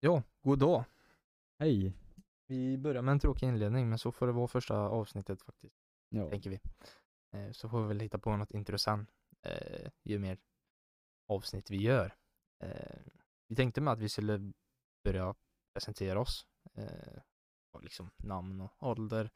Ja, god dag. Hej. Vi börjar med en tråkig inledning, men så får det vara första avsnittet faktiskt, Ja. tänker vi. Eh, Så får vi väl hitta på något intressant eh, ju mer avsnitt vi gör. Eh, Vi tänkte med att vi skulle börja presentera oss, eh, och liksom namn och ålder.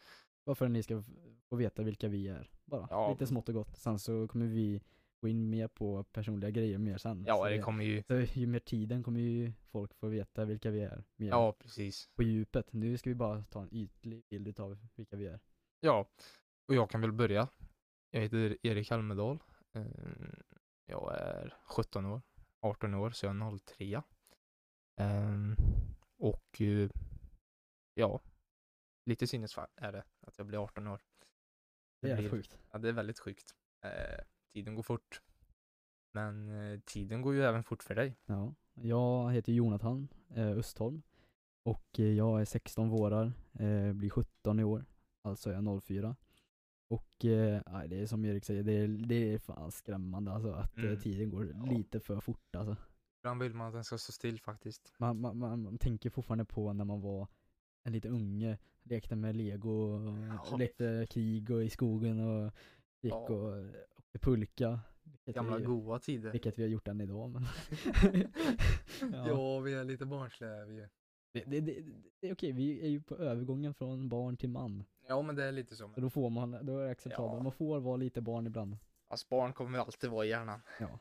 Bara för att ni ska f- få veta vilka vi är. Bara. Ja. Lite smått och gott. Sen så kommer vi gå in mer på personliga grejer mer sen. så Ja, det kommer ju, så ju mer tiden kommer ju folk få veta vilka vi är. Mer ja precis. På djupet. Nu ska vi bara ta en ytlig bild utav vilka vi är. Ja, och jag kan väl börja. Jag heter Erik Almedal. Eh, Jag är 17 år, 18 år, så jag är 03. Ehm, Och eh, ja, lite sinnesfall är det att jag blir 18 år. Det är blir- sjukt. Ja, det är väldigt sjukt. Eh, Tiden går fort. Men eh, tiden går ju även fort för dig. Ja. Jag heter Jonathan eh, Östholm. Och eh, jag är 16 vårar. Eh, blir 17 i år. Alltså är jag 04. Och eh, nej, det är som Erik säger, det är, det är fan skrämmande alltså att eh, Mm. tiden går Ja. lite för fort alltså. Ibland vill man att den ska stå still faktiskt. Man, man, man, man tänker fortfarande på när man var en liten unge, lekte med lego, och Ja. lekte krig och i skogen och gick Ja. och åkte pulka. Vilket Gamla vi, goa tider. vilket vi har gjort än idag men Ja. vi är lite barnsliga vi. det, det, det, det är okej, vi är ju på övergången från barn till man. Ja, men det är lite så. Så då får man, då är det acceptabelt. Ja. Man får vara lite barn ibland. Alltså barn kommer alltid vara i hjärnan. Ja.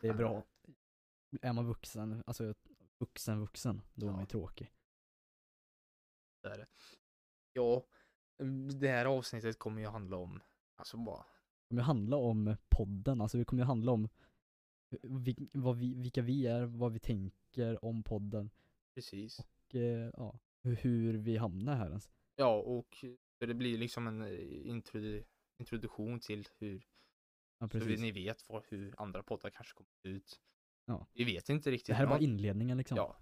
Det är bra. Är man vuxen, alltså vuxen vuxen, då är Ja. man ju tråkig. Där. Ja, mm, det här avsnittet kommer ju handla om, alltså bara, kommer ju handla om podden, alltså det kommer ju handla om vi, vad vi, vilka vi är, vad vi tänker om podden precis. och eh, ja, hur- hur vi hamnar här ens. Ja, och för det blir liksom en eh, introdu- introduktion till hur, Ja, så vi, precis. ni vet vad, hur andra poddar kanske kommer ut. Ja. Vi vet inte riktigt. Det här är bara någon- inledningen liksom. Ja.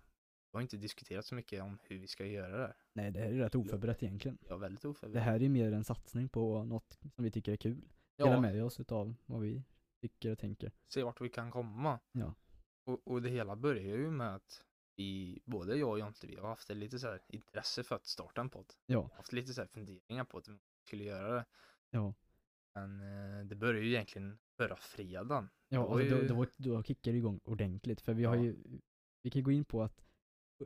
Vi har inte diskuterat så mycket om hur vi ska göra det här. Nej, det här är ju rätt oförberett egentligen. Jag är väldigt Det oförberedd. här är ju mer en satsning på något som vi tycker är kul. Dela Ja, med oss utav vad vi tycker och tänker. se vart vi kan komma. Ja. Och, och det hela börjar ju med att vi, både jag och Jonte, vi har haft lite så här intresse för att starta en podd. Ja. Jag har haft lite så här funderingar på att vi skulle göra det. Ja. Men eh, det började ju egentligen förra fredagen. Ja, Det var alltså, då, ju- då, var- då kickar det igång ordentligt. För vi har Ja. ju, vi kan gå in på att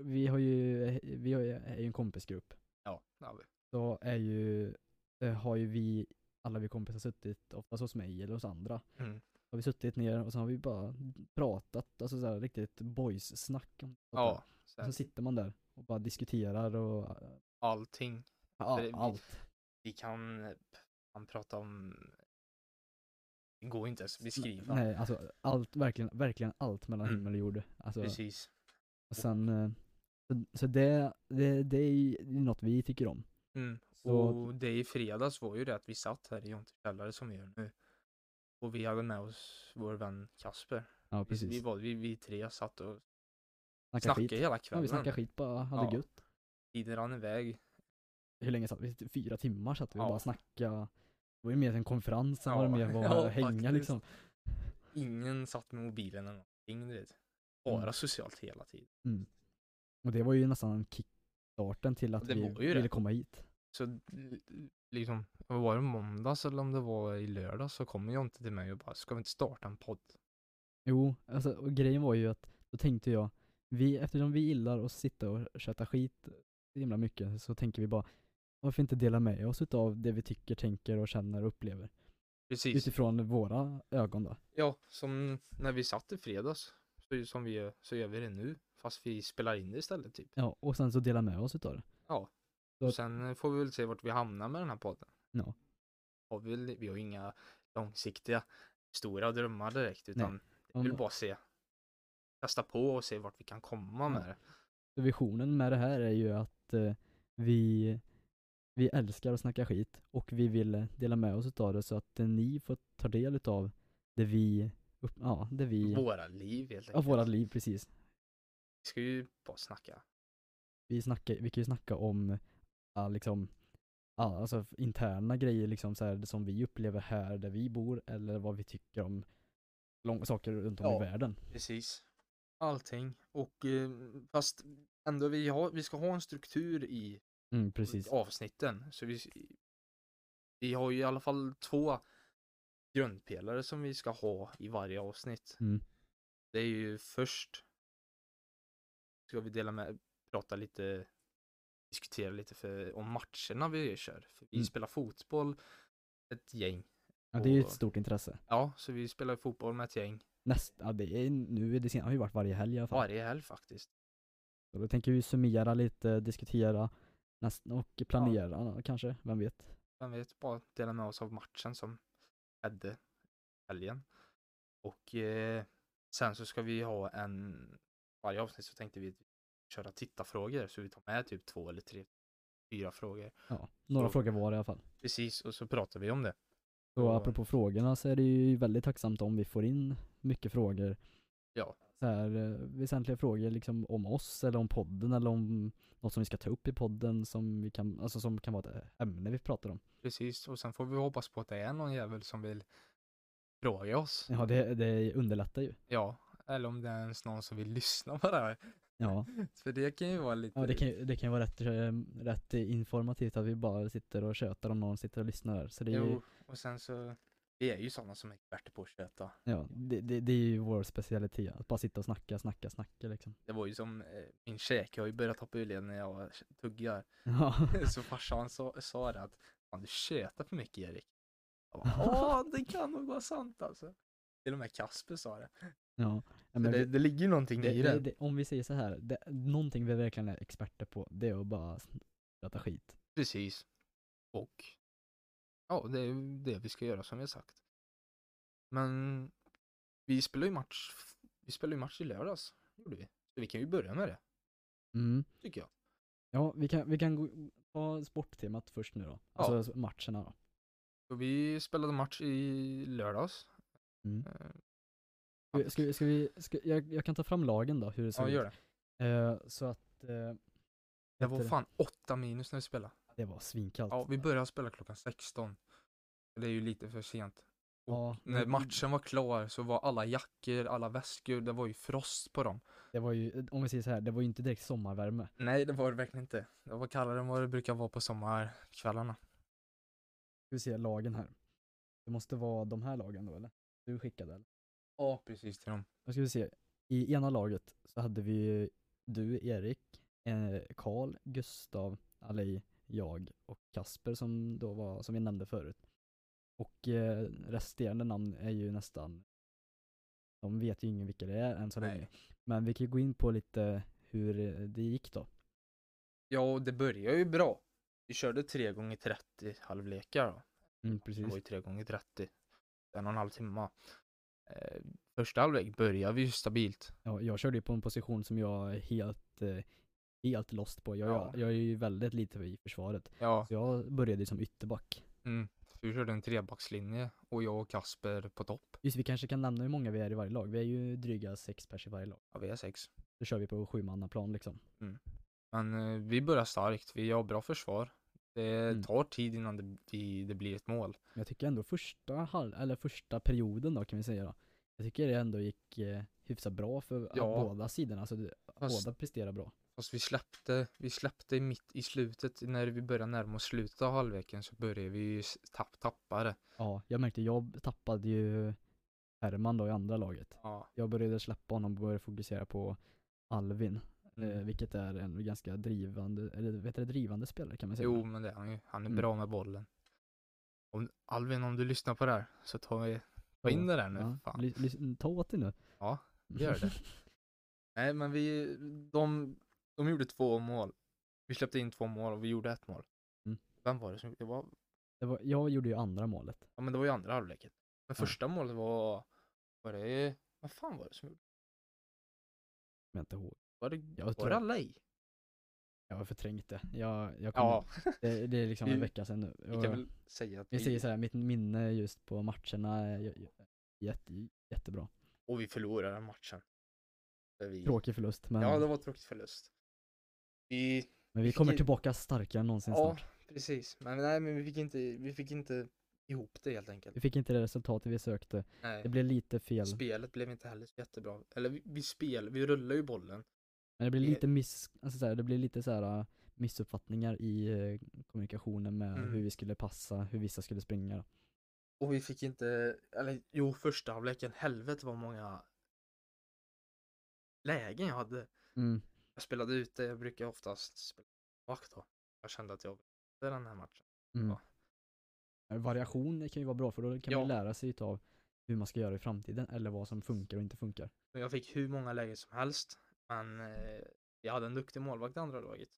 vi har ju, vi har ju, är ju en kompisgrupp. Ja, det har vi. då är ju, eh, har ju vi, alla vi kompisar suttit, oftast hos mig eller hos andra, Mm. har vi suttit ner och så har vi bara pratat, alltså såhär riktigt boys-snack. om saker. Ja, så Och här, så sitter man där och bara diskuterar och eh, allting. ja, det- allt. Vi kan, eh, man prata om, det går inte ens att beskriva. Nej, alltså allt, verkligen, verkligen allt mellan Mm. himmel och jord. Alltså, Precis. och sen, eh, så, så det, det, det är ju något vi tycker om. Mm. Så- Och det i fredags var ju det att vi satt här i Jontes källare som vi gör nu. Och vi hade med oss vår vän Kasper. Alltså, Ja, Vi, vi, precis. var, vi, vi tre satt och Snackar snackade skit. hela Ja, kvällen. vi snackar skit bara, hade Ja. gött. Tiden rann iväg. hur länge satt vi? Typ Fyra timmar satt vi och Ja. bara snackade. Det var ju mer en konferens, sen Ja. var det mer bara Ja, att hänga faktiskt. liksom. Ingen satt med mobilen eller någonting. du vet. Bara Mm. socialt hela tiden. Och det var ju nästan kickstarten till att det vi var ju det. ville komma hit. Så l- liksom, vad var det måndags eller om det var i lördag så kommer jag inte till mig och bara, ska vi inte starta en podd? Jo, alltså och grejen var ju att då tänkte jag, vi, eftersom vi gillar att sitta och chatta skit så himla mycket så tänker vi bara varför inte dela med oss utav det vi tycker, tänker och känner och upplever? Precis. Utifrån våra ögon då. Ja, som när vi satt i fredags, så, som vi, gör- så gör vi det nu, fast vi spelar in det istället typ. Ja, och sen så dela med oss utav det. Så Och att- sen eh, får vi väl se vart vi hamnar med den här podden. Ja. Har vi, väl- vi har inga långsiktiga, stora drömmar direkt, utan vi vill Om- bara se, testa på och se vart vi kan komma med Ja. det. Så visionen med det här är ju att eh, vi, vi älskar att snacka skit och vi vill eh, dela med oss utav det så att eh, ni får ta del utav det vi, upp, ja, det vi, Våra liv helt av enkelt. våra liv precis. Vi ska ju bara snacka. Vi, snackar, vi kan ju snacka om ja, liksom, ja, alltså interna grejer liksom så här, det som vi upplever här där vi bor eller vad vi tycker om lång, saker runt om Ja. i världen. Precis. allting. Och eh, fast ändå vi, har, vi ska ha en struktur i Mm, precis. avsnitten. Så vi, vi har ju i alla fall två grundpelare som vi ska ha i varje avsnitt. Mm. Det är ju först ska vi dela med, prata lite, diskutera lite för, om matcherna vi kör. För vi Mm. spelar fotboll, ett gäng. Ja, det är ju och- ett stort intresse. Ja, så vi spelar fotboll med ett gäng Näst, ja, det är, nu är det sen, har ju varit varje helg i alla fall. varje helg faktiskt. Så då tänker vi summera lite, diskutera näst, och planera kanske, vem vet. Vem vet, typ bara dela med oss av matchen som skedde helgen. Och eh, sen så ska vi ha en, varje avsnitt så tänkte vi köra tittarfrågor så vi tar med typ två eller tre, fyra frågor. Ja, några Så- frågor var i alla fall. Precis, och så pratar vi om det. Och Så- apropå frågorna så är det ju väldigt tacksamt om vi får in mycket frågor. Ja. Så här, eh, väsentliga frågor liksom om oss eller om podden eller om något som vi ska ta upp i podden som vi kan, alltså som kan vara ett ämne vi pratar om. Precis, och sen får vi hoppas på att det är någon jävel som vill fråga oss. Ja, det, det underlättar ju. Ja, eller om det är ens någon som vill lyssna på det här. Ja, För det kan ju vara lite... ja det, kan, ju- det kan ju vara rätt, eh, rätt informativt att vi bara sitter och tjötar om någon sitter och lyssnar. Så det är ju, Jo, och sen så, vi är ju sådana som är experter på att köta. ja, det, det, det är ju vår specialitet, att bara sitta och snacka, snacka, snacka liksom. Det var ju som eh, min käk, jag har ju börjat hoppa ur led när jag tuggar. Ja. Så farsan sa, sa det att fan du tjötar för mycket Erik. Jag bara, Ja, det kan nog vara sant alltså. Till och med Kasper sa det. Ja, Så men det, vi- det ligger ju någonting det, i det, det. det, om vi säger så här, det, någonting vi verkligen är experter på, det är att bara prata skit. Precis. Och ja, det är ju det vi ska göra som vi har sagt. Men vi spelar ju match, vi spelar ju match i lördags. Gjorde vi. Så vi kan ju börja med det, Mm. tycker jag. Ja, vi kan, vi kan gå, ta sporttemat först nu då. Alltså s- matcherna då. Så vi spelade match i lördags. Mm. Eh, Ska, vi- ska, vi- ska vi, ska, jag, jag kan ta fram lagen då, hur det ser Ja, ut. gör det. Eh, så att, eh, Det var heter fan 8 minus när vi spelade. det var svinkallt. Ja, vi började spela klockan 16. Det är ju lite för sent. och Ja, När men matchen var klar så var alla jackor, alla väskor, det var ju frost på dem. Det var ju, om vi säger så här, det var ju inte direkt sommarvärme. Nej, det var det verkligen inte. Det var kallare än vad det brukar vara på sommarkvällarna. Ska vi se lagen här. Det måste vara de här lagen då eller? Du skickade eller? Ja, precis till dem. Då ska vi se. I ena laget så hade vi ju du, Erik, eh, Karl, Gustav, Ali, jag och Kasper som då var, som vi nämnde förut. Och eh, resterande namn är ju nästan, de vet ju ingen vilka det är än så länge. Nej. Men vi kan ju gå in på lite hur eh, det gick då. Ja, och det började ju bra. Vi körde 3 gånger 30 halvlekar då. Det var ju precis. 3 gånger 30 En och en halv timme. Eh, första halvlek började vi ju stabilt. Ja, jag körde ju på en position som jag är helt, eh, helt lost på. Jag, Ja. jag, jag är ju väldigt lite i försvaret. Ja, Så jag började ju som ytterback. mm. vi körde en trebackslinje och jag och Kasper på topp. Just vi kanske kan nämna hur många vi är i varje lag. Vi är ju dryga sex pers i varje lag. Ja, vi är sex. Då kör vi på sjumannaplan liksom. Men eh, vi börjar starkt, vi har bra försvar. Det Mm. tar tid innan det, vi- det blir ett mål. Men jag tycker ändå första halv, eller första perioden då kan vi säga då. Jag tycker det ändå gick eh, hyfsat bra för Ja. ja. båda sidorna. Så det, Fast- båda presterar bra. Fast vi släppte, vi släppte mitt i slutet, när vi började närma oss slutet av halvleken så började vi ju s- tapp, tappa det. Ja, jag märkte jag tappade ju Herman då i andra laget. Ja. Jag började släppa honom och började fokusera på Alvin. Eh, Mm. vilket är en ganska drivande, eller vet du, det, drivande spelare kan man säga. Jo, men det är han ju. Han är Alltså, Mm. bra med bollen. Om, Alvin, om du lyssnar på det här så tar vi ta in det där nu. Ja, Fan. ly- ly- ta åt dig nu. Ja, gör det. Nej, men vi, de, de gjorde två mål. Vi släppte in två mål och vi gjorde ett mål. Mm. Vem var det som, det var, det var, jag gjorde ju andra målet. ja men det var ju andra halvleken. Men Ja. första målet var, var det, vad fan var det som gjorde? Om jag inte ihåg. Var det, Jag var tror- det Alay? Jag har förträngt det. Jag, jag kommer, Ja, det, det är liksom Vi- en vecka sedan nu. vi Och kan väl säga att jag säger vi, såhär, mitt minne just på matcherna är ju- ju- jätte, jättebra. och vi förlorade den matchen. Där vi, Tråkig förlust men, ja, det var tråkigt förlust. Vi men vi fick kommer ju- tillbaka starkare än någonsin Ja, snart. precis. Men nej, men vi fick inte, vi fick inte ihop det helt enkelt. Vi fick inte det resultatet vi sökte. Nej. Det blev lite fel. Spelet blev inte heller så jättebra. Eller vi, vi spel, vi rullar ju bollen. Men det blir Eh. lite miss, alltså så här, det blir lite så här äh, missuppfattningar i eh, kommunikationen med Mm. hur vi skulle passa, hur vissa skulle springa. då. Och vi fick inte, eller jo första halvleken, helvete vad många lägen jag hade. Mm. Jag spelade ute, jag brukar oftast spela vakt då. Jag kände att jag ville den här matchen. Mm. Ja. Eh, Variation kan ju vara bra för då kan Ja. man lära sig utav hur man ska göra i framtiden eller vad som funkar och inte funkar. Och jag fick hur många lägen som helst. Men eh, jag hade en duktig målvakt i andra laget.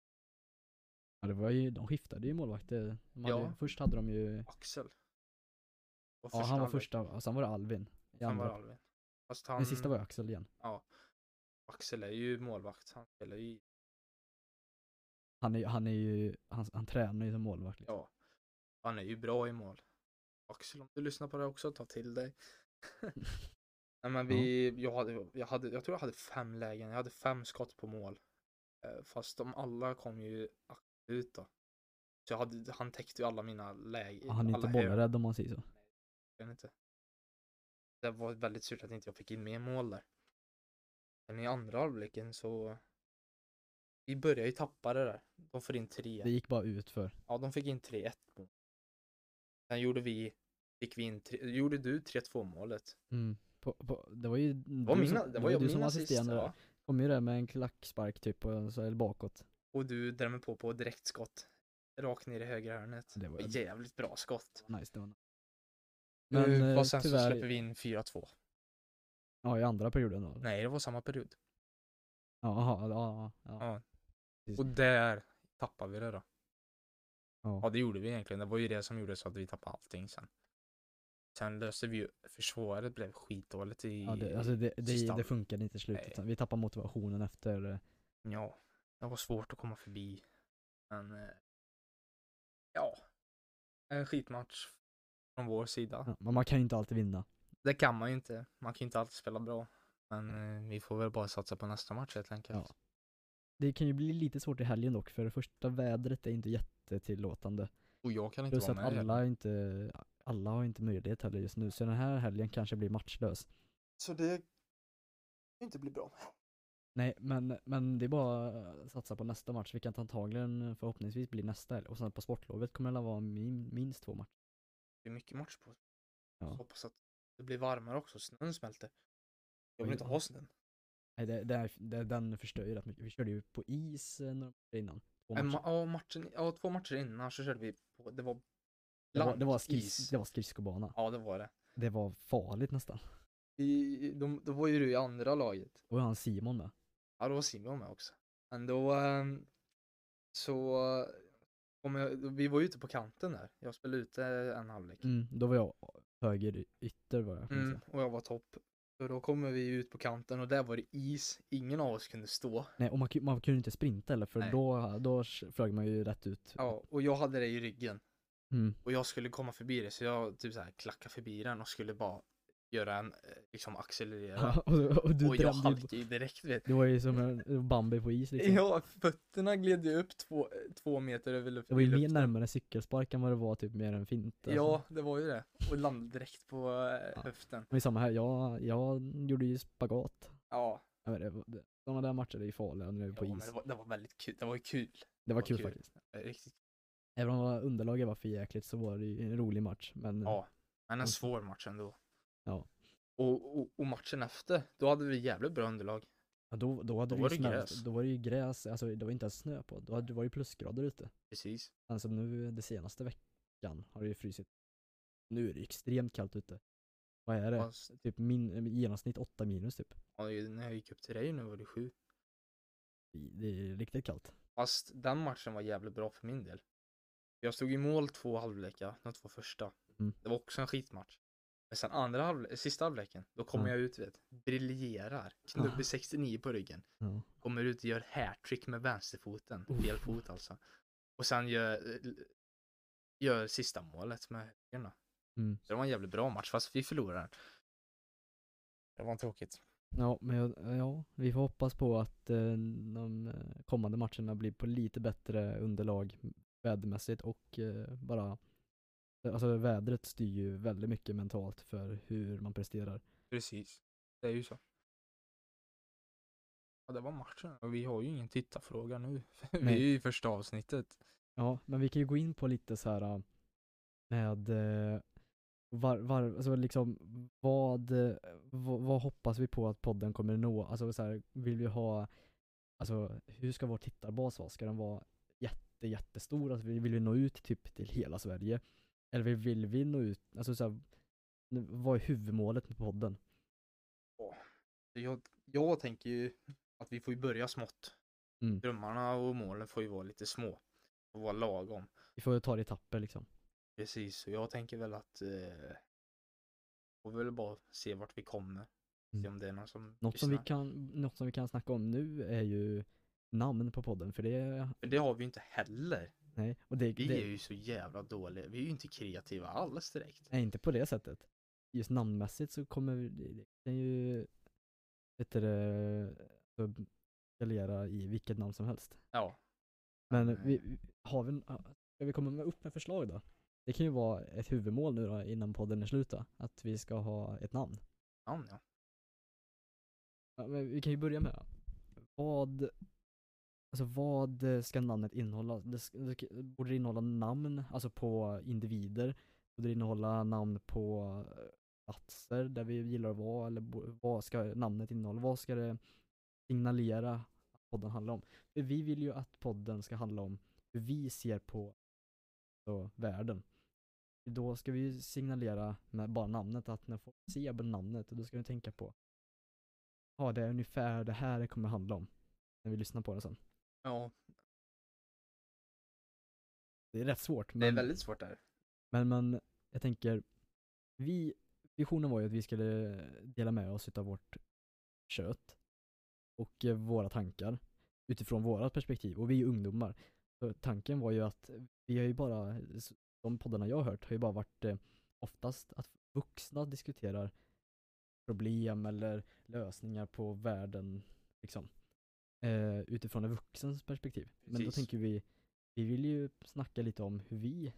Ja, det var ju, de skiftade ju målvakter. De hade, Ja. Först hade de ju, Axel. Och ja han var halvlek. första, och sen var det Alvin. I Sen andra. var det Alvin. Fast han, Den sista var ju Axel igen. Axel är ju målvakt. Han spelar ju, Han är, han är ju, han, han tränar ju som målvakt. Liksom. ja. Han är ju bra i mål. Axel om du lyssnar på det också, ta till dig. Nej men vi, jag, hade, jag, hade, jag tror jag hade fem lägen, jag hade fem skott på mål. Eh, Fast de alla kom ju Axel ut då. Så jag hade, han täckte ju alla mina lägen. Han är inte alla bollrädd om man säger så. höglägen inte. Det var väldigt surt att inte jag fick in mer mål där. Men i andra halvleken så vi började ju tappa det där. De får in tre. Det gick bara ut för. Ja, de fick in 3-1 mål. Sen gjorde vi, fick vi in, tre, gjorde du 3-2 målet? Mm. På, på, det var ju du Det var, mina, som, det var ju du min som assist. assisterande. Ja. Kom ju där med en klackspark typ, och så, eller bakåt. Och du drämmer på på direktskott. Rakt ner i högra hörnet. Det var- Och jävligt bra skott. Nice, det var nice. Men Men, eh, och sen så tyvärr, släpper vi in 4-2. ja i andra perioden då. Nej, det var samma period. Ja, aha, ja, ja, ja. Ja. Precis. Och där tappade vi det då. Ja. Ja, det gjorde vi egentligen. Det var ju det som gjorde så att vi tappade allting sen. Sen löste vi ju, försvaret blev skitdåligt i... Ja, det, alltså det, det, sista- det funkade inte i slutet. Vi tappade motivationen efter, eh, Ja, det var svårt att komma förbi. Men eh, ja, en skitmatch från vår sida. ja, men man kan ju inte alltid vinna. Det kan man ju inte. Man kan ju inte alltid spela bra. Men eh, vi får väl bara satsa på nästa match helt enkelt. Ja. Det kan ju bli lite svårt i helgen dock, för det första vädret är inte jättetillåtande. Och jag kan inte Plus att vara med. alla, är inte, alla har inte möjlighet heller just nu, så den här helgen kanske blir matchlös. Så det inte bli bra. Nej, men, men det är bara att satsa på nästa match, vilket antagligen förhoppningsvis blir nästa helg. Och sen på sportlovet kommer det vara min, minst två matcher. Det är mycket match på. Ja. Hoppas att det blir varmare också. Snön smälter. Jag vill Oj, inte ja. ha snön. Nej, det, det, är- det, den förstör ju rätt mycket. Vi körde ju på is eh, några matcher innan. Två Äh, matcher. ma- Ja, matchen, ja, två matcher innan så körde vi på, det var Det var, det var, blank skris, det var skridskobana. Ja, det var det. Det var farligt nästan. Vi, de, då var ju du i andra laget. Och han Simon med. Ja, då var Simon med också. Men då ehm, så kom jag, då- vi var ju ute på kanten där. Jag spelade ute en halvlek. Mm, då var jag höger ytter var jag. Mm, Mm. och jag var topp. Så då kommer vi ut på kanten och där var det is. Ingen av oss kunde stå. Nej, och man, ku- man kunde inte sprinta heller för Nej. då, då s- flög man ju rätt ut. Ja, och jag hade det i ryggen. Mm. Och jag skulle komma förbi det så jag typ så här klackade förbi den och skulle bara göra en eh, liksom accelerera. och, du- och du och jag drömde ju, halkade ju direkt vet det var ju som en Bambi på is liksom. Ja, fötterna gled ju upp två, två meter över luft- Det var ju i mer luften. närmare cykelspark än vad det var typ mer än fint. alltså. Ja, det var ju det. Och landade direkt på eh, Ja. höften. Men samma här, jag, jag gjorde ju spagat. Ja, Ja, men det, var- det, sådana där matcher är ju farliga när du är på ja men is. det Det var, det var väldigt kul. Det var ju kul. var var kul kul. faktiskt. Eh, Riktigt. Även om underlaget var för jäkligt så var det ju en rolig match. Men Ja. Men en Mm. svår match ändå. Ja. Och, och, och matchen efter, då hade vi jävligt bra underlag. Ja, då, då, Då hade det var ju det snö, gräs. då var det ju gräs, alltså det var inte ens snö på, då hade, det var ju plusgrader ute. Precis. Men som nu den senaste veckan har det ju frusit. Nu är det extremt kallt ute. Vad är det? Fast, Typ min, i genomsnitt 8 minus typ. ja, när jag gick upp till dig nu var det sju. Det är riktigt kallt. Fast den matchen var jävligt bra för min del. Jag stod i mål två halvlekar, de två första. Mm. Det var också en skitmatch. Men sen andra halvle- sista halvleken, då kommer Ja. jag ut vet, briljerar. Ah. Knubbig 69 på ryggen. Ja. Kommer ut och gör hattrick med vänsterfoten. Uff. Fel fot alltså. Och sen gör, gör sista målet med högern då. Mm. Så det var en jävligt bra match fast vi förlorade. Det var tråkigt. ja, men jag- ja, vi får hoppas på att eh, de eh, kommande matcherna blir på lite bättre underlag vädermässigt och eh, bara Alltså vädret styr ju väldigt mycket mentalt för hur man presterar. Precis. Det är ju så. Ja, det var matchen och vi har ju ingen tittarfråga nu. vi är Nej. ju i första avsnittet. Ja, men vi kan ju gå in på lite så här äh, med eh, var, var, alltså liksom vad, eh, vad, vad hoppas vi på att podden kommer nå? Alltså så här, vill vi ha, alltså hur ska vår tittarbas vara? Ska den vara jätte, jättestor? Alltså vill vill vi nå ut typ till hela Sverige? Eller vill- vill vi nå ut, alltså så här, n- vad är huvudmålet med podden? Jag, jag tänker ju att vi får ju börja smått. Mm. Drömmarna och målen får ju vara lite små. Och vara lagom. Vi får ju ta det i etapper liksom. Precis, och jag tänker väl att eh, får väl bara se vart vi kommer. Se Mm. om det är någon som Något som, vi lyssnar. kan, något som vi kan snacka om nu är ju namn på podden, för det, Men det har vi ju inte heller. nej, och det, Vi det, är ju så jävla dåliga. Vi är ju inte kreativa alls direkt. Nej, inte på det sättet. Just namnmässigt så kommer vi- det det kan ju vet du, det, så briljera i vilket namn som helst. Ja. Men Nej. vi, har vi, ska vi komma med, upp med förslag då? Det kan ju vara ett huvudmål nu då innan podden är slut då, att vi ska ha ett namn. Namn ja. Ja, men vi kan ju börja med vad, alltså vad eh, ska namnet innehålla? Det, sk- det, sk- borde det innehålla namn, alltså på individer? Borde det innehålla namn på eh, platser där vi gillar att vara? Eller bo- vad ska namnet innehålla? Vad ska det signalera att podden handlar om? För vi vill ju att podden ska handla om hur vi ser på så, världen. Då ska vi ju signalera med bara namnet att när folk ser på namnet, då ska vi tänka på ja det är ungefär det här det kommer handla om. När vi lyssnar på den sen. Ja, Det är rätt svårt. Men, det är väldigt svårt där. men, men jag tänker, vi, visionen var ju att vi skulle dela med oss utav vårt kött och eh, våra tankar utifrån vårat perspektiv och vi är ju ungdomar. Så tanken var ju att vi har ju bara, s- de poddarna jag har hört har ju bara varit eh, oftast att vuxna diskuterar problem eller lösningar på världen liksom. Eh, utifrån en vuxens perspektiv. Men då Precis. tänker vi, vi vill ju snacka lite om hur vi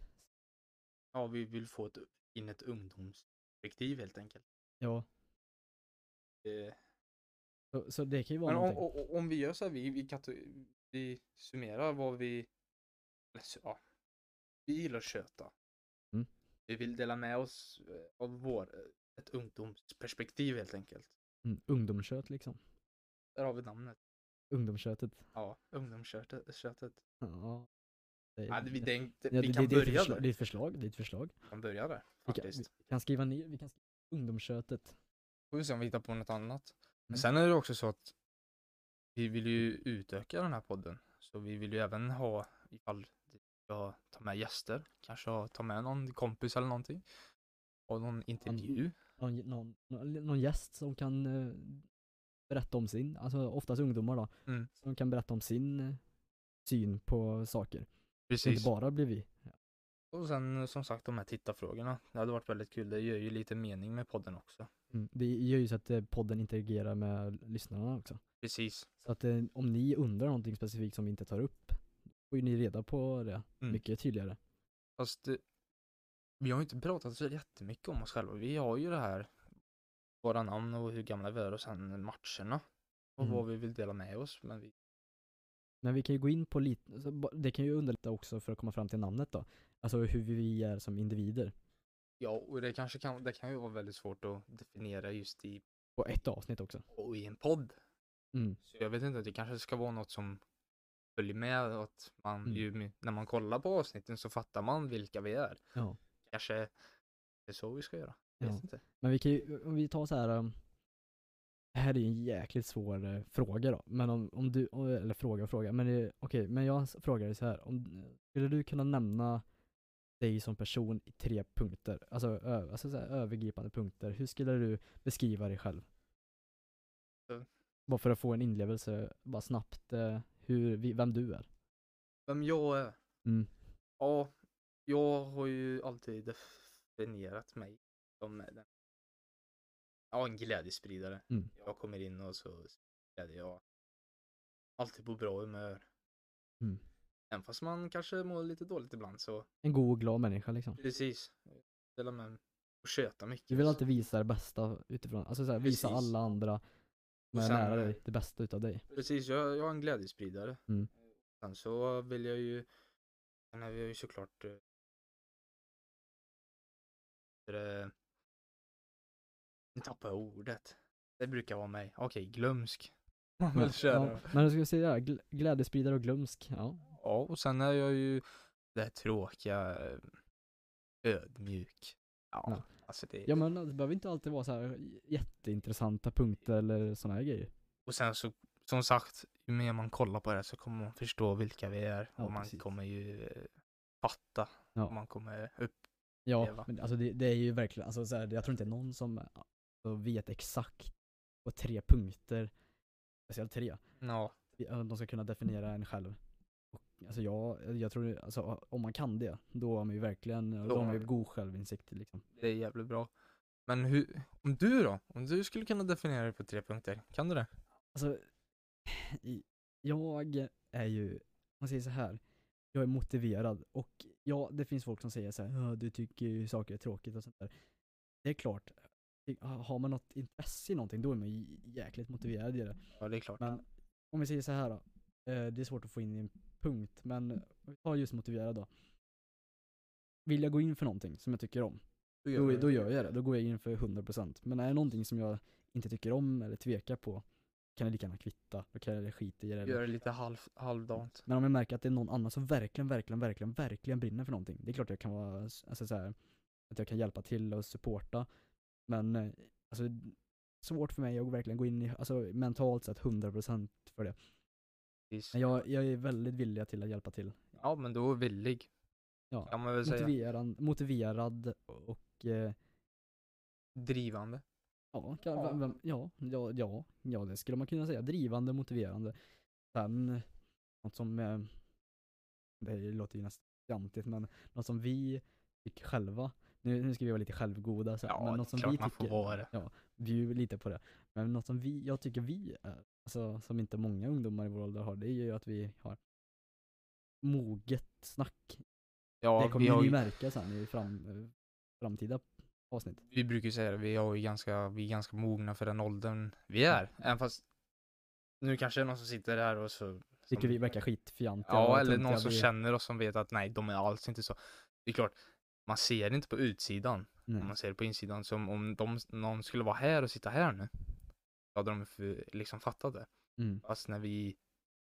Ja, vi vill få ett, in ett ungdomsperspektiv helt enkelt. Ja, Eh, så, så det kan ju vara men om, någonting. o- om vi gör så här, vi, vi, kato- vi summerar vad vi... eller s- Ja, vi gillar att köta. Mm. Vi vill dela med oss eh, av vår, eh, ett ungdomsperspektiv helt enkelt. Mm, ungdomskött liksom. Där har vi namnet. Ungdomskötet. Ja, ungdomskötet. Ja. Det, Ja, vi, det- det, det, ja, vi kan det- det är ett börja där. förslag- Det är Vi ett förslag, det är ett förslag. kan börja där Vi kan, faktiskt. vi kan skriva ner, vi kan skriva ungdomskötet. Får vi se om vi hittar på något annat. Men Mm. sen är det också så att vi vill ju utöka den här podden. Så vi vill ju även ha, ifall vi ska ta med gäster, kanske ha- ta med någon kompis eller någonting. Och någon intervju. Någon, någon, någon, någon gäst som kan eh, berätta om sin, alltså oftast ungdomar då, Mm. som kan berätta om sin eh, syn på saker. Så Precis. inte bara blir vi. Och sen som sagt de här tittarfrågorna. Det hade varit väldigt kul. Det gör ju lite mening med podden också. Mm. Det gör ju så att eh, podden interagerar med lyssnarna också. Precis. Så att eh, om ni undrar någonting specifikt som vi inte tar upp, får ju ni reda på det Mm. mycket tydligare. Fast det, vi har ju inte pratat så jättemycket om oss själva. Vi har ju det här, våra namn och hur gamla vi är och sen matcherna. Och Mm. vad vi vill dela med oss. Men vi, Men vi kan ju gå in på lite, så ba- det kan ju underlätta också för att komma fram till namnet då. Alltså hur vi är som individer. Ja, och det kanske kan, det kan ju vara väldigt svårt att definiera just i, Och ett avsnitt också. och i en podd. Mm. Så jag vet inte, det kanske ska vara något som följer med att man Mm. ju, med- när man kollar på avsnitten så fattar man vilka vi är. Ja. Kanske det är så vi ska göra. Jag Ja. vet inte. Men vi kan ju, om vi tar så här. um, Det här är ju en jäkligt svår eh, fråga då. Men om, om du, o- eller fråga och fråga. Men det- okej, men jag s- frågar dig så här. Om, skulle du kunna nämna dig som person i tre punkter? Alltså, ö, alltså så här, övergripande punkter. Hur skulle du beskriva dig själv? Mm. Bara för att få en inlevelse, bara snabbt, eh, hur, vi- vem du är. Vem jag är? Mm. Ja, jag har ju alltid definierat mig som den, ja, en glädjespridare. Mm. Jag kommer in och så glädjer jag. Alltid på bra humör. Mm. Även fast man kanske mår lite dåligt ibland så En god och glad människa liksom. precis. Dela med mig och köta mycket. Du vill så- alltid visa det bästa utifrån, alltså så här, visa Precis. alla andra som är sen- eh, nära dig, det bästa utav dig. Precis, jag, jag är en glädjespridare. Mm. Sen så vill jag ju, sen är vi ju såklart eh, eh, nu tappar jag ordet. Det brukar vara mig. Okej, glömsk. Man vill ja, köra. men du skulle säga det här, gl- glädjespridare och glömsk, ja. Ja, och sen är jag ju det här tråkiga, eh, ödmjuk. Ja, Ja. alltså det. Ja men det behöver inte alltid vara så här jätteintressanta punkter eller såna här grejer. Och sen så, som sagt, ju mer man kollar på det här så kommer man förstå vilka vi är. Ja, och man precis. kommer ju eh, fatta. Ja. Och man kommer upp Ja, uppleva. men alltså det, det är ju verkligen, alltså så här, jag tror inte det är någon som alltså, vet exakt på tre punkter, speciellt tre, Ja, eh, de ska kunna definiera en själv. Och, alltså jag, jag tror, alltså om man kan det, då har man ju verkligen, då, har man ju god självinsikt liksom. det är jävligt bra. Men hur, om du då? Om du skulle kunna definiera dig på tre punkter, kan du det? Alltså, i- jag är ju, om man säger så här, jag är motiverad och ja, det finns folk som säger så här, "Ja, du tycker ju saker är tråkigt och sånt där. Det är klart, i- har man något intresse i någonting då är man ju jäkligt motiverad i det. Ja, det är klart. Men om vi säger så här då, eh, det är svårt att få in i en punkt, men om vi tar just motiverad då. Vill jag gå in för någonting som jag tycker om, Då då, då gör jag det. Då går jag in för 100%. Men är det någonting som jag inte tycker om eller tvekar på, kan jag lika gärna kvitta. Då kan jag skita i det. Gör Eller. det lite halv, halvdant. Men om jag märker att det är någon annan som verkligen, verkligen, verkligen, verkligen brinner för någonting. Det är klart jag kan vara, alltså så här, att jag kan hjälpa till och supporta. Men eh, alltså, svårt för mig att verkligen gå in i, alltså mentalt sett 100% för det. Precis. Men jag, jag är väldigt villig till att hjälpa till. Ja, men då är villig, Ja. kan man väl säga. Motiverad, motiverad och eh, Drivande. ja, kan, Ja. Vem, vem, ja, ja, ja, ja, det skulle man kunna säga. Drivande, motiverande. Sen, eh, något som, eh, det låter ju nästan fjantigt, men något som vi tycker själva, nu, nu ska vi vara lite självgoda, så, här, men Ja, något det som är klart vi man får tycker, vara det. bjud lite på det. Men något som vi, jag tycker vi är, alltså som inte många ungdomar i vår ålder har, det är ju att vi har moget snack Ja, det kommer vi, ju har, ni ju- märka sen i fram, eh, framtida avsnitt. vi brukar ju säga det, vi, har ju ganska, vi är ganska mogna för den åldern vi är. Även fast nu kanske det är någon som sitter här och så... Tycker som- vi verkar skitfjantiga. och Ja, eller töntiga. någon som Vi- känner oss som vet att nej, de är alls inte så. Det är klart, man ser det inte på utsidan. Nej. Om man ser det på insidan, som om de, någon skulle vara här och sitta här nu. Då hade de för, liksom fattat det. Mm. Fast när vi,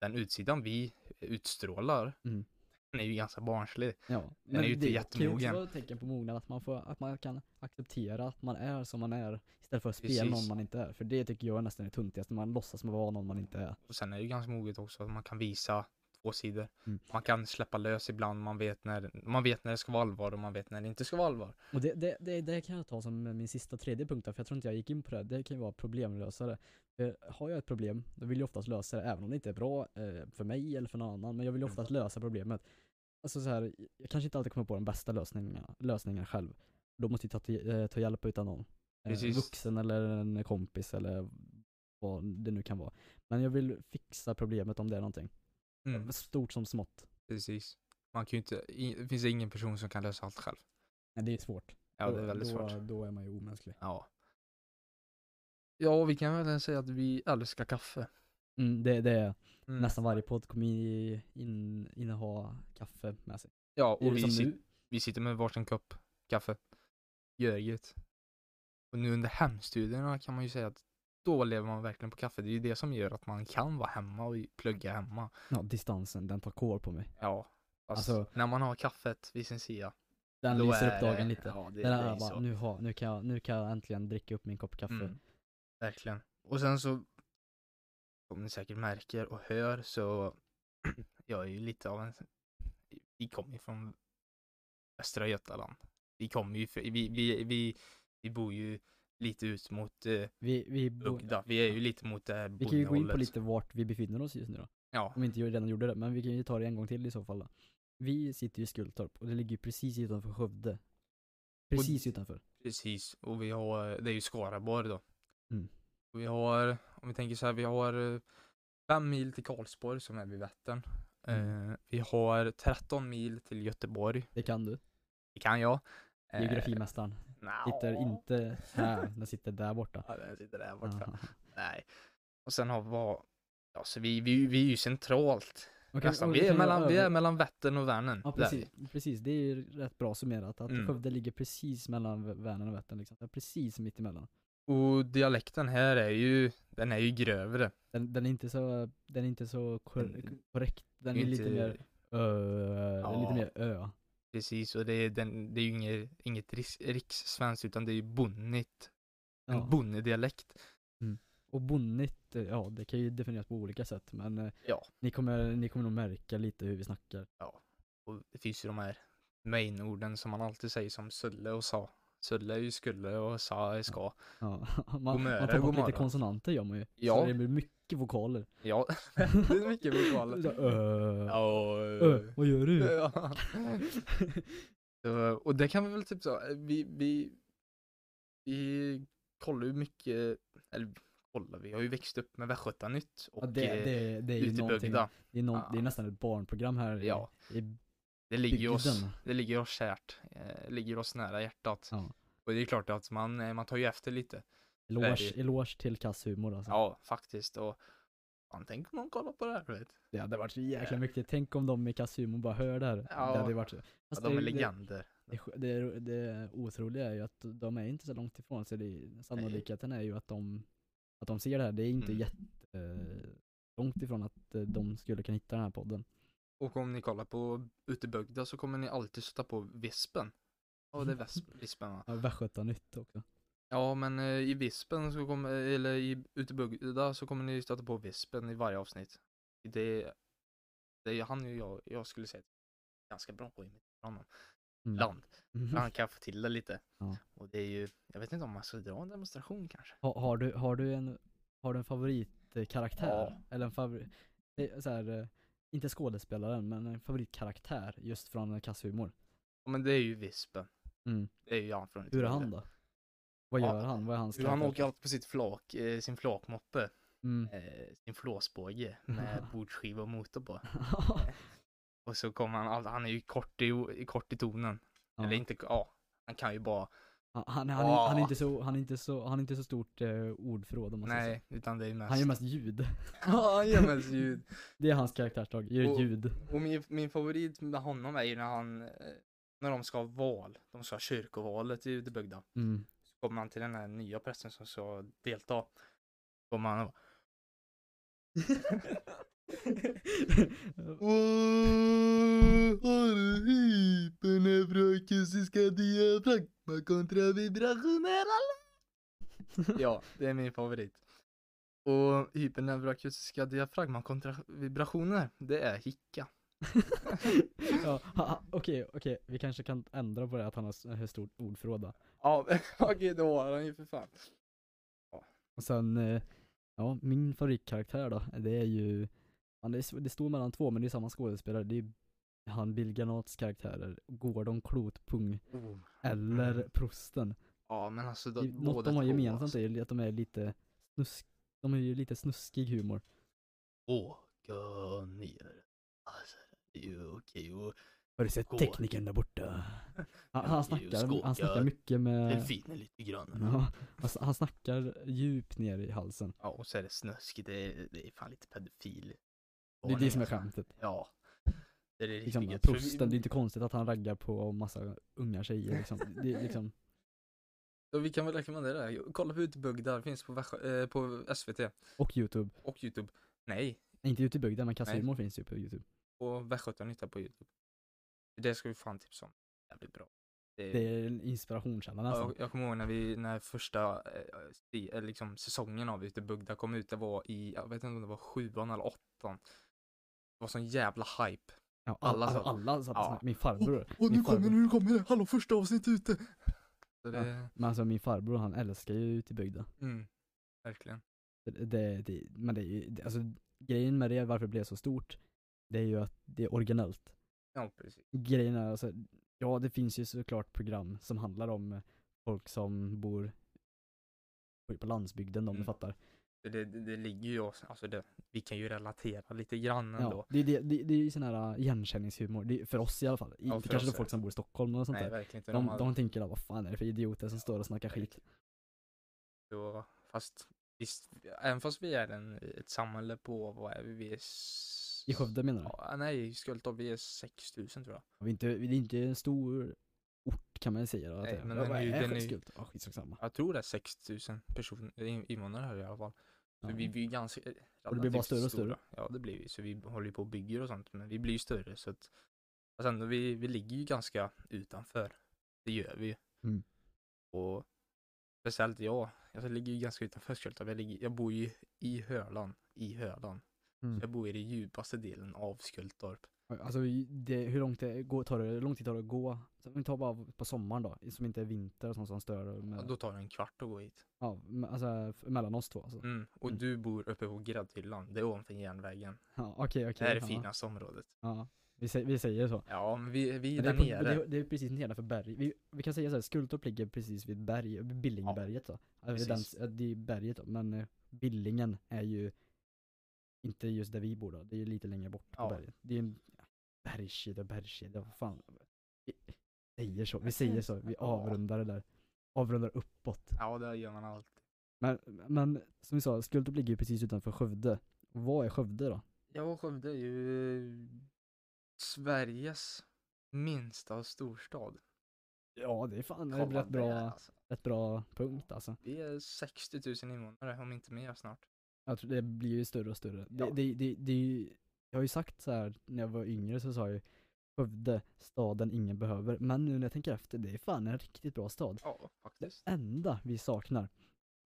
den utsidan vi utstrålar, Mm. den är ju ganska barnslig. Ja. är ju inte det kan ju också jättemogen. vara ett tecken på mognad, att man, får, att man kan acceptera att man är som man är istället för att spela Precis. någon man inte är. För det tycker jag är nästan det töntigaste, man låtsas som att vara någon man inte är. Och sen är det ju ganska moget också att man kan visa två sidor. Mm. Man kan släppa lös ibland, man vet, när, man vet när det ska vara allvar och man vet när det inte ska vara allvar. Och det, det, det, det kan jag ta som min sista tredje punkt, där, för jag tror inte jag gick in på det. Det kan ju vara problemlösare. För har jag ett problem, då vill jag oftast lösa det, även om det inte är bra eh, för mig eller för någon annan. Men jag vill oftast lösa problemet. Alltså så här, jag kanske inte alltid kommer på den bästa lösningen, lösningen själv. Då måste jag ta, till- eh, ta hjälp utan någon. Eh, en Precis. vuxen eller en kompis eller vad det nu kan vara. Men jag vill fixa problemet om det är någonting. Mm. Stort som smått. Precis. Man kan ju inte, i, det finns ingen person som kan lösa allt själv. Nej, det är svårt. Ja, det Då- är väldigt då, svårt. Då är man ju omänsklig. Ja. Ja, vi kan väl säga att vi älskar kaffe. Mm, det, det är Mm. Nästan varje podd kommer i- in, inneha kaffe med sig. Ja, Det är och vi, som sit, nu. vi sitter med varsin kopp kaffe. Görget. Och nu under hemstudierna kan man ju säga att då lever man verkligen på kaffe. Det är ju det som gör att man kan vara hemma och plugga hemma. Ja, distansen, den tar kål på mig. Ja. Fast Alltså- när man har kaffet vid sin sida. Den då lyser är upp dagen det- lite. Ja, det, den det är här ju så. bara, nu, har, nu, kan jag, nu kan jag äntligen dricka upp min kopp kaffe. Mm, verkligen. Och sen så, som ni säkert märker och hör så, jag är ju lite av en, vi kommer ju från Västra Götaland. Vi kommer ju, fr- vi, vi, vi, vi bor ju lite ut mot eh, Vi, vi, bo- Ugda, vi är ju lite mot det här vi kan ju gå in på bondehållet. lite vart vi befinner oss just nu då. Ja, Om vi inte redan gjorde det, men vi kan ju ta det en gång till i så fall då. Vi sitter ju i Skultorp och det ligger ju precis utanför Skövde. Precis utanför. precis. Och vi har, eh, det är ju Skaraborg då. Mm. Och vi har, om vi tänker så här, vi har eh, fem mil till Karlsborg som är vid Vättern. Mm. Eh, vi har 13 mil till Göteborg. Det kan du. Det kan jag. Eh, Geografimästaren. nja. Sitter inte här, den sitter där borta. Ja, den sitter där borta. Nej. Och sen har vi vad? Ja, så vi, vi, vi är ju centralt. Okej, nästan. och Vi är, kan jag mellan, vi över- är mellan Vättern och Vänern. Ja typ Där. precis, precis, det är ju rätt bra summerat att Mm. Skövde ligger precis mellan V- Vänern och Vättern liksom. Den är precis mitt emellan. Och dialekten här är ju, den är ju grövre. Den, den är inte så, den är inte så kor- Den- korrekt, den Det är ju lite Mm. inte- mer ö, Ja. lite mer ö. Precis, och det är, den, det är ju inget, inget ris- rikssvenskt utan det är ju bonnigt. En Ja. bonnedialekt. Och bonnigt, eh, ja det kan ju definieras på olika sätt men eh, Ja. ni, kommer, ni kommer nog märka lite hur vi snackar. Och det finns ju de här mainorden som man alltid säger som Sulle och sa. Sulle är ju skulle och sa är ska. Ja. Man, Gomöre, man tar bort gomorra. lite konsonanter gör man ju. Ja. Så det blir mycket vokaler. Ja, det är mycket Så, vokaler. ö, Ja, eh, ö, vad gör du? Ja. Så, och det kan vi väl typ så, vi, vi, vi kollar ju mycket, eller kollar, vi har ju växt upp med Västgötanytt och Ja, det, eh, det, det är ju ute i någonting, bygda. det är, någon, det Ja. är nästan ett barnprogram här i- Ja, i det ligger oss, bygden. det ligger oss kärt, eh, ligger oss nära hjärtat. Ja. Och det är klart att man, eh, man tar ju efter lite. Eloge, Väldigt. eloge till kass humor alltså. Ja, faktiskt. Och fan, tänk om någon kollar på det här, du vet. Det hade varit så jäkla mycket. Tänk om de i kass humor bara hör det här. Eh. Ja. Det hade ju varit så. Ja, Fast de det- är legender. Det, det, det, det otroliga är ju att de är inte så långt ifrån så det, sannolikheten är ju att de, att de ser det här. Det är inte Mm. jätte långt ifrån att eh, de skulle kunna hitta den här podden. Och om ni kollar på Utebygda så kommer ni alltid stöta på Vispen. Ja, det är väs- Vispen va? Ja, Västgötanytt också. Ja, men eh, i vispen så kommer, eller i Utebugda så kommer ni stöta på vispen i varje avsnitt. Det, det är han ju jag, jag skulle säga ganska bra på imitation honom. Mm. Land. Mm. Han kan få till det lite. Ja. Och det är ju, jag vet inte om man ska dra en demonstration kanske. Ha, har, du, har, du en, har du en favoritkaraktär? Ja. Eller en favorit, det är så här, eh, inte skådespelaren men en favoritkaraktär just från kass humor. Ja, men det är ju vispen. Mm. Det är ju han från Hur är Utebygda. han då? Vad Ja, gör han? Vad är hans Hur han karaktär? åker alltid på sitt flak, eh, sin flakmoppe, Mm. eh, sin flåsbåge med bordsskiva och motor på. ja. Och så kommer han, all- han är ju kort i, kort i tonen. Eller inte, ja, han kan ju bara han, han, han, är- han, är inte så, han är inte så, han är inte så stort eh, ordförråd om man säger Nej, utan det är så. mest... Han gör mest ljud. ja, han gör mest ljud. Det är hans karaktärsdrag, gör Och- ljud. Och min, min favorit med honom är ju när han, eh, när de ska ha val, de ska ha kyrkovalet i Utebygda. Mm. Så kommer han till den här nya prästen som ska delta. Kommer han och bara, Åh, håll hypen neuroakustiska diafragma kontra vibrationella Ja, det är min favorit. Och hyperneuroakustiska diafragma kontra vibrationer, det är hicka. ja, ha- ha- Okej, okej, vi kanske kan ändra på det att han har s- hur stort ordförråd då. Ja, okej då har han ju för fan. Och sen, eh, ja, min favoritkaraktär då, det är ju, han är, s- det står mellan två men det är samma skådespelare, det är ju han Bill Ganats karaktärer, Gordon Klotpung eller Mm. Prosten. Ja, men alltså då, I- Något de har gemensamt alltså. är ju att de är lite snusk, de är ju lite snuskig humor. Åka ner. Alltså, det är ju okej och Har du sett Gå. teknikern där borta? Han, han, Det är ju snackar, han snackar skoggar. mycket med, fina lite grann. ja, han, s- han snackar djupt ner i halsen. Ja, och så är det snuskigt. Det är, det är fan lite pedofil. Det är det som är skämtet. Ja. Det är det riktigt Liksom, gött. För vi- prosten, det är inte konstigt att han raggar på massa unga tjejer liksom. Det är liksom, Så vi kan väl rekommendera det. här. Kolla på Utbugda, det finns på, Västgö- eh, på SVT och youtube. och Youtube. Nej, Nej, Inte ute i bygden men Nej. Kassimor finns ju på youtube. på Västgötanytta på Youtube. Det ska vi fan tipsa om. Jävligt bra. Det- Det är en inspirationskälla Eh. Ja, nästan. Jag, jag kommer ihåg när vi, när första eh, sti- eh, liksom, säsongen av Utebugda kom ut, det var i, jag vet inte om det var sjuan eller åttan. Det var sån jävla hype. Ja, alla alla, alla, satt- alla satt och ja. snackade. Min farbror. Åh min farbror. nu kommer det, hallå första avsnitt ute! Så det, Men alltså min farbror han älskar ju ute i bygden. mm, verkligen. Det, det, det, men det är ju, det, alltså grejen med det, varför det blev så stort, det är ju att det är originellt. Ja, precis. Grejen är alltså, ja det finns ju såklart program som handlar om eh, folk som bor på- på landsbygden om Mm. du fattar. För det, det, det ligger ju oss, alltså det, vi kan ju relatera lite grann ändå. Ja, det, det, det, det är ju sån här äh, igenkänningshumor, det, är- för oss i alla fall. I, Ja, inte för kanske oss är för folk det. som bor i Stockholm eller sånt Nej, där. verkligen inte. De, hade- de tänker där, vad fan är det för idioter som står och snackar skit? Så, fast visst, även fast vi är en, ett samhälle på, vad är vi? Vi är... s- I Skövde menar du? Ja, nej, i Skultorp, vi är 6000 tror jag. Vi är inte, vi är inte en stor ort kan man ju säga då. att Nej, det är. men Ja, den vad är ju- den är ju- Skultorp? Ja, skitsamma. Jag tror det är 6000 personer, in- invånare här i alla fall. Så Ja. vi blir ju ganska... eh, Och det blir bara relativt större och stora. större. Ja, det blir vi. Så vi håller ju på och bygger och sånt, men vi blir ju större så att... Alltså ändå, vi, vi ligger ju ganska utanför. Det gör vi ju. Mm. Och speciellt jag, jag ligger ju ganska utanför Skultorp. Jag, ligger- jag bor ju i Hölan, i Hölan. Mm. Jag bor i den djupaste delen av Skultorp. Alltså vi- det, hur långt det går, tar det, hur lång tid tar det att gå? Så vi tar bara på sommaren då, som inte är vinter och sånt som stör. och Ja, Med, då tar det en kvart att gå hit. ja, me- alltså f- mellan oss två alltså. Mm. Och Mm. du bor uppe på Gräddhyllan, det är ovanför järnvägen. Ja, okej, okej. Det här är det ja, finaste området. Ja, vi, sä, vi säger så. Ja, men vi, vi är Men det, där är på, nere. det, är- det är precis nedanför berg. Vi, vi kan säga så här, Skultorp ligger precis vid berg, vid Billingberget då. Alltså den, precis. eh, det är berget då, men eh, Billingen är ju inte just där vi bor då, det är ju lite längre bort på Ja. berget. Det är en bergskedja, bergskedja, vad fan. Vi säger så, vi säger så, vi Ja. avrundar det där. Avrundar uppåt. Ja, det gör man alltid. Men, men som vi sa, Skultorp ligger ju precis utanför Skövde. Vad är Skövde då? Ja, Skövde är ju Sveriges minsta storstad. Ja, det är fan det är Kolla rätt bra, alltså. rätt bra punkt alltså. Vi är 60 000 invånare, om inte mer snart. Jag tror det blir ju större och större. Det, Ja. det, det, det, är ju- jag har ju sagt så här när jag var yngre så sa jag ju Skövde, staden ingen behöver. Men nu när jag tänker efter, det är fan en riktigt bra stad. Ja, faktiskt. Enda vi saknar,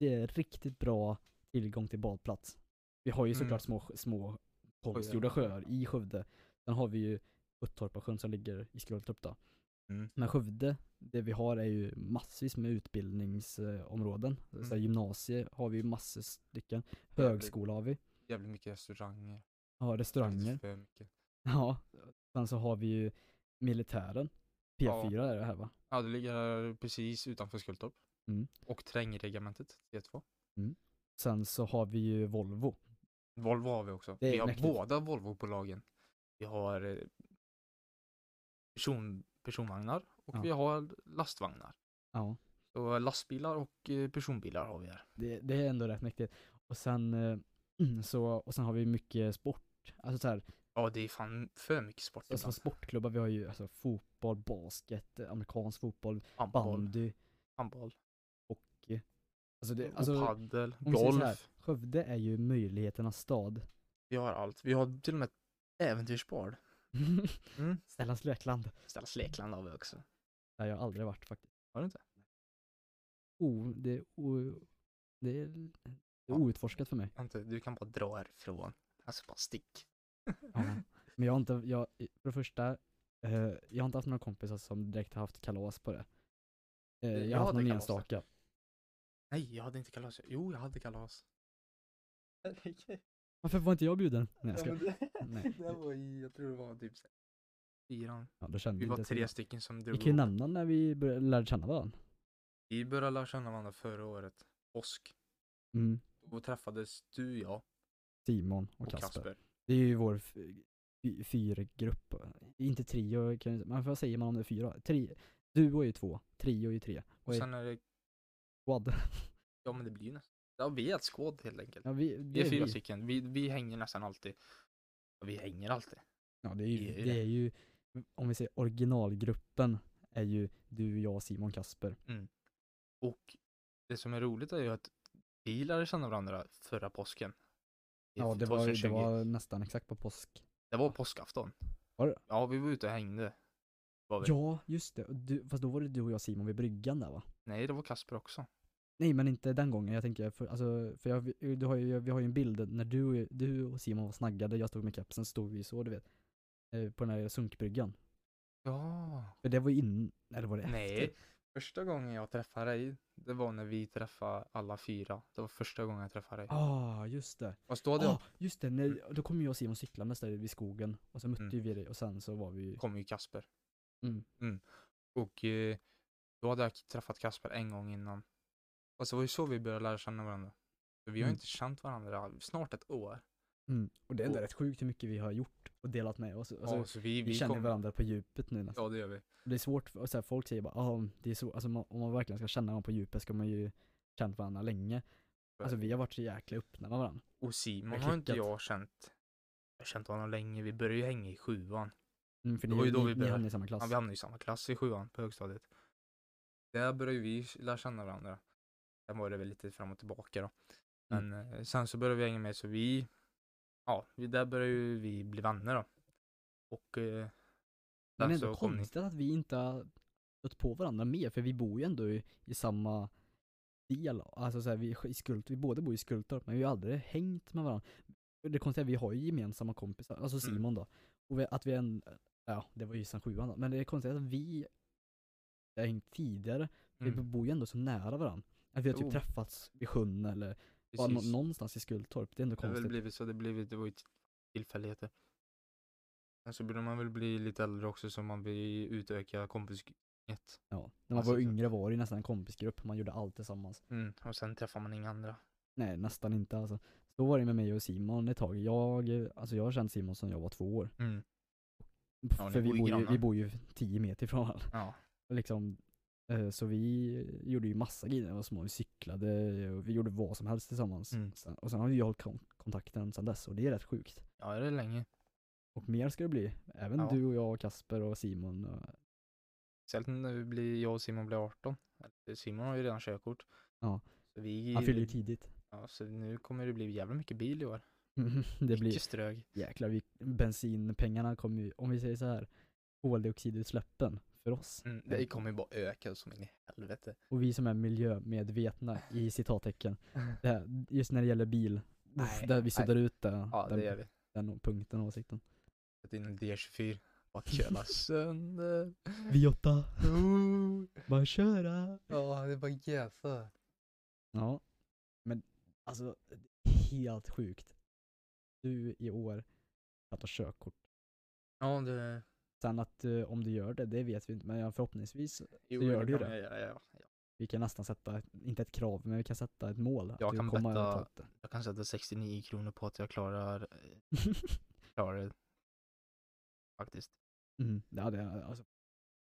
det är riktigt bra tillgång till badplats. Vi har ju Mm. såklart små, små konstgjorda sjöar i Skövde. Sen har vi ju Uttorpasjön som ligger i Skultorp då. Mm. Men Skövde, det vi har är ju massvis med utbildningsområden. Mm. Så här, gymnasie har vi ju massor stycken. Högskola har vi. Jävligt mycket restauranger. Ja, restauranger. Faktiskt för mycket. Ja. Sen så har vi ju militären. P4 är det här va? Ja, det ligger precis utanför Skultorp. Mm. Och Trängregementet, T2. Sen så har vi ju Volvo. Volvo har vi också. Det är Vi har mäktigt. båda Volvo-bolagen. Vi har eh, person, personvagnar och Ja. vi har lastvagnar. Ja. Så lastbilar och eh, personbilar har vi här. Det, det är ändå rätt mäktigt. Och sen, eh, så, och sen har vi mycket sport. Alltså så här, Ja, det är fan för mycket sport alltså ibland. sportklubbar, vi har ju alltså fotboll, basket, eh, amerikansk fotboll, Handboll, bandy, handboll, hockey. Alltså det, och alltså paddel, om vi säger så här. golf. Skövde är ju möjligheternas stad. Vi har allt. Vi har till och med äventyrsbad. Mm. Stellans Lekland, Ställas Lekland har vi också. där jag aldrig varit faktiskt. Har du inte? o, det, är o, det är l- det är Ja. outforskat för mig. Inte, du kan bara dra härifrån. Alltså bara stick. Ja. Men jag har inte, jag, för det första, eh, jag har inte haft några kompisar som direkt har haft kalas på det. Eh, Jag jag har haft hade någon kalas där. enstaka. Nej, jag hade inte kalas. Jo, jag hade kalas. Varför var inte jag bjuden? Nej jag Ja, men skojar. det, Nej. det var i, jag tror det var typ så här fyran. Ja, då kände Vi var inte tre ens- stycken som Vi drog kan ju ihop. nämna när vi började, lärde känna varandra. Vi började lära känna varandra förra året. Påsk. Mm. Då träffades du, jag Simon och, och Kasper. Kasper. Det är ju vår f- fy- fyrgrupp. Inte trio, kan jag, men vad säger man om det är fyra? Tri, duo är ju två, trio är ju tre. Och Oj. sen är det, Quad. ja men det blir ju nästan. Ja, vi är ett skåd helt enkelt. Ja, vi, Vi det är fyra vi. stycken. Vi, vi hänger nästan alltid. Ja, Vi hänger alltid. Ja det är Det är ju, ju det det. är ju om vi säger originalgruppen är ju du, jag, Simon, Kasper. Och det som är roligt är ju att vi lärde känna varandra förra påsken. I Ja det var, det 2020. var nästan exakt på påsk. det var påskafton. Var det? Ja, vi var ute och hängde. Var vi. Ja just det, Och du, fast då var det du och jag Simon vid bryggan där va? Nej, det var Kasper också. Nej men inte den gången, jag tänker, för, alltså, för jag, du har ju, vi har ju en bild när du, och- du och Simon var snaggade, jag stod med kepsen, stod vi så du vet. eh, På den här sunkbryggan. Ja. För det var ju in, eller var det Nej. efter? Första gången jag träffade dig, det var när vi träffade alla fyra. Det var första gången jag träffade dig. Ah, just det. Fast då hade Ah, just det, när, då kom ju jag och Simon cyklandes där vid skogen och så mötte Mm. ju vi dig och sen så var vi ju, jag, kom ju Kasper. Mm. Och eh, då hade jag träffat Kasper en gång innan. Fast det var ju så vi började lära känna varandra. För vi har ju Mm. inte känt varandra snart ett år. Mm. Och det är ändå Och- rätt sjukt hur mycket vi har gjort och delat med oss. Alltså, ja, så vi, vi, känner kommer- varandra på djupet nu nästan. Ja, det gör vi. Och Det är svårt, för, så här, folk säger bara ah, det är så, alltså, man, om man verkligen ska känna någon på djupet ska man ju känna varandra länge. Alltså vi har varit så jäkla öppna med varandra. Och Simon har har inte klickat. jag känt, jag har känt honom länge. Vi började ju hänga i sjuan. Mm, för Det ni, var ju då vi ni, ni började. hamnade i samma klass. Ja, vi hamnade i samma klass i sjuan på högstadiet. Där började ju vi lära känna varandra. Sen var det väl lite fram och tillbaka då. Mm. Men eh, sen så började vi hänga med så vi, ja, vi, där började ju vi bli vänner då. Och eh, Men sen ändå så kom ni. konstigt att vi inte har stött på varandra mer, för vi bor ju ändå i, i samma del, alltså så här, vi, är i Skult, vi båda bor i Skultorp, men vi har aldrig hängt med varandra. Det konstiga är att vi har ju gemensamma kompisar, alltså Mm. Simon då. Och vi, att vi en, ja det var ju sen sjuan då, men det är konstigt att vi har hängt tidigare, vi Mm, bor ju ändå så nära varandra. Att vi har typ Jo. träffats vid sjön eller bara nå- precis. någonstans i Skultorp, det är ändå Det har väl konstigt. blivit så, det, blivit, det var ju till- tillfälligheter. Sen så började man väl bli lite äldre också så man vill utöka kompisgänget. Ja. När man Alltså, var så- yngre var det ju nästan en kompisgrupp, man gjorde allt tillsammans. Mm. Och sen träffar man inga andra. Nej, nästan inte alltså. Så var det med mig och Simon ett tag. Jag, eh, alltså jag har känt Simon sedan jag var två år. Mm. P- Ja, ni För vi bor ju bor, ju, grannar. vi bor ju tio meter ifrån varandra. Ja. Och Liksom, eh, så vi gjorde ju massa grejer när vi var små. Vi cyklade och vi gjorde vad som helst tillsammans. Mm. Sen, och sen har ju jag hållit kon- kontakten sedan dess och det är rätt sjukt. ja, det är länge. Och mer ska det bli. Även Ja. du och jag och Kasper och Simon. Och, Speciellt när vi blir, jag och Simon blir 18. Eller, Simon har ju redan körkort. Ja. Så vi, han fyller ju tidigt. ja, så nu kommer det bli jävla mycket bil i år. det Mycket blir strög. jäklar, vi, bensinpengarna kommer ju, om vi säger så här, koldioxidutsläppen för oss. Mm, det kommer ju bara öka som in i helvete. Och vi som är miljömedvetna i citattecken. Det här, just när det gäller bil, Mm. Nej, där vi suddar ut det, Ja, den, det gör vi. den punkten och åsikten. Sätt in en D24. Bara köra sönder. V8, Oh. bara köra! Ja, det är bara jäsa. Ja, men alltså helt sjukt. Du i år att ta körkort. Ja, det... Sen att eh, om du gör det, det vet vi inte, men ja, förhoppningsvis, Jo, Så gör du kan det. man göra, ja, ja. vi kan nästan sätta, ett- inte ett krav, men vi kan sätta ett mål. att Jag du kan kommer betta- att ta det. Jag kan sätta 69 kronor på att jag klarar, eh, klarar det. Faktiskt. mm, ja, det hade alltså,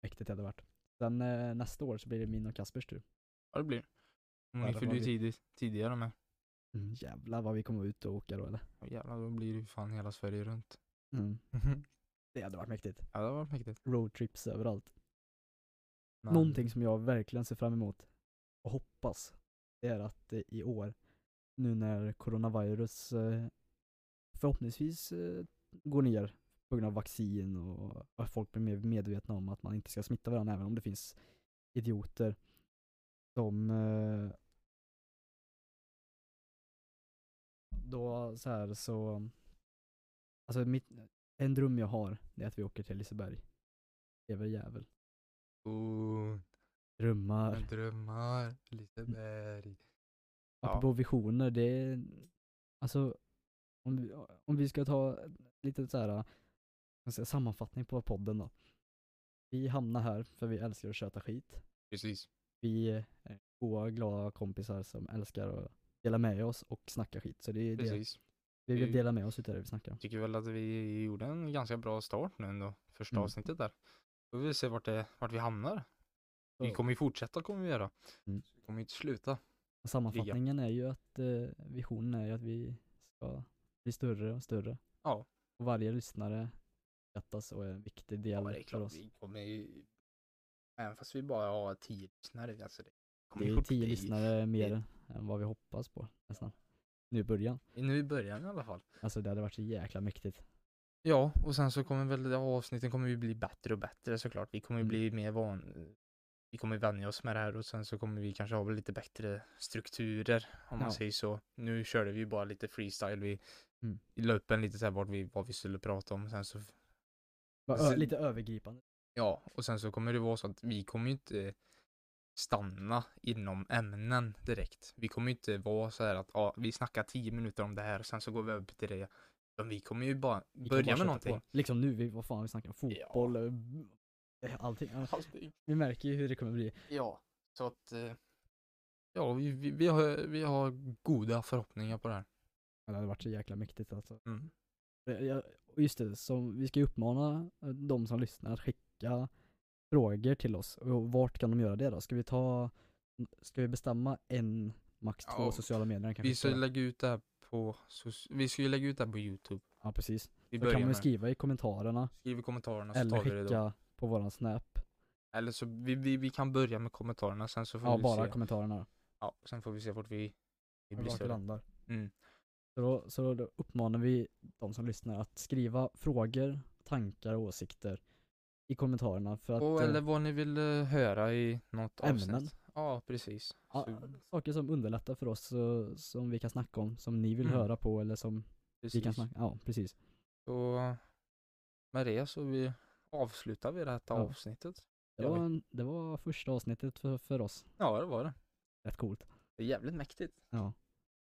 mäktigt hade det varit. Sen eh, nästa år så blir det min och Kaspers tur. Ja, det blir det. Ja, Ni det fyller var ju vi- tidigt, tidigare med. Mm, jävlar vad vi kommer ut och åka då eller? Och jävlar, då blir det ju fan hela Sverige runt. Mm. Det hade varit mäktigt. ja, det var mäktigt. Roadtrips överallt. Men- Någonting som jag verkligen ser fram emot och hoppas det är att eh, i år, nu när coronavirus eh, förhoppningsvis eh, går ner på grund av vaccin och att folk blir mer medvetna om att man inte ska smitta varandra även om det finns idioter som eh, då så här så alltså mitt, en dröm jag har det är att vi åker till Liseberg. Lever jävel. Oh, Drömmar. jag drömmar, Liseberg. Ja. Mm. Apropå visioner, det är, alltså om vi, om vi ska ta lite så här vad ska jag säga, sammanfattning på podden då. Vi hamnar här för vi älskar att köta skit. Precis. Vi är goa, glada kompisar som älskar att dela med oss och snacka skit. Så det är det Precis. vi vill Vi- dela med oss utav det vi snackar om. Tycker väl att vi gjorde en ganska bra start nu ändå. Första Mm. avsnittet där. Då vill vi se vart, det, vart vi hamnar. Vi Så, kommer ju fortsätta kommer vi göra. Mm. Vi kommer ju inte sluta. Sammanfattningen är ju att eh, visionen är ju att vi ska bli större och större. Ja. Och varje lyssnare uppskattas och är en viktig del Ja, det är för klart oss. vi kommer ju, även fast vi bara har tio lyssnare, alltså det kommer Det ju är fort- tio det är- lyssnare mer än vad vi hoppas på nästan. Nu i början. Nu i början i alla fall. Alltså det hade varit så jäkla mäktigt. Ja, och sen så kommer väl ja, avsnitten kommer ju bli bättre och bättre såklart. Vi kommer ju Mm. bli mer van, vi kommer vänja oss med det här och sen så kommer vi kanske ha lite bättre strukturer om man Ja. säger så. Nu körde vi ju bara lite freestyle, vi Mm. la upp en lite så här vart vi, vad vi skulle prata om sen så Bara Alltså- ö- lite övergripande. Ja, och sen så kommer det vara så att vi kommer ju inte stanna inom ämnen direkt. Vi kommer ju inte vara så här att ja, vi snackar tio minuter om det här och sen så går vi över till det. Men vi kommer ju bara Vi kan bara börja köta med någonting. På. Liksom nu, vi, vad fan vi snackar om, fotboll, eh, allting. Ja, Vi märker ju hur det kommer bli. Ja, så att eh, ja, vi, vi, vi, har, vi har goda förhoppningar på det här. Men Det hade varit så jäkla mäktigt alltså. Mm. Eh, jag- och Just det, som, vi ska ju uppmana eh, de som lyssnar att skicka frågor till oss. Och vart kan de göra det då? Ska vi ta, ska vi bestämma en, max två Ja, sociala medier? kanske Vi ska ju ska- lägga ut det här på, soc- vi ska ju lägga ut det här på Youtube. Ja precis. Vi Då kan börjar man ju med skriva. skriva i kommentarerna skriv i kommentarerna så eller tar vi det då. skicka på våran snap. Eller så, vi, vi, vi kan börja med kommentarerna sen så får Ja vi bara se. kommentarerna. Ja, sen får vi se vart vi, vi blir Vart vi större. landar. Mm. Så då, så då uppmanar vi de som lyssnar att skriva frågor, tankar och åsikter i kommentarerna för att Och, eh, eller vad ni vill eh, höra i något avsnitt. ämnen. Ja, precis. Ja, Så, saker som underlättar för oss eh, som vi kan snacka om, som ni vill Mm. höra på eller som vi kan precis. snacka, ja precis. Så med det så vi avslutar vi det här Ja. avsnittet. Det Ja, var, vi- en, det var första avsnittet för, för oss, Ja, det var det. rätt coolt. Det är jävligt mäktigt. Ja.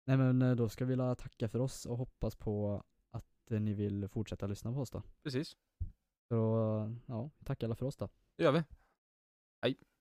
Nej men eh, då ska vi la tacka för oss och hoppas på att eh, ni vill fortsätta lyssna på oss då. Precis. Så ja, tack alla för oss då. Det gör vi.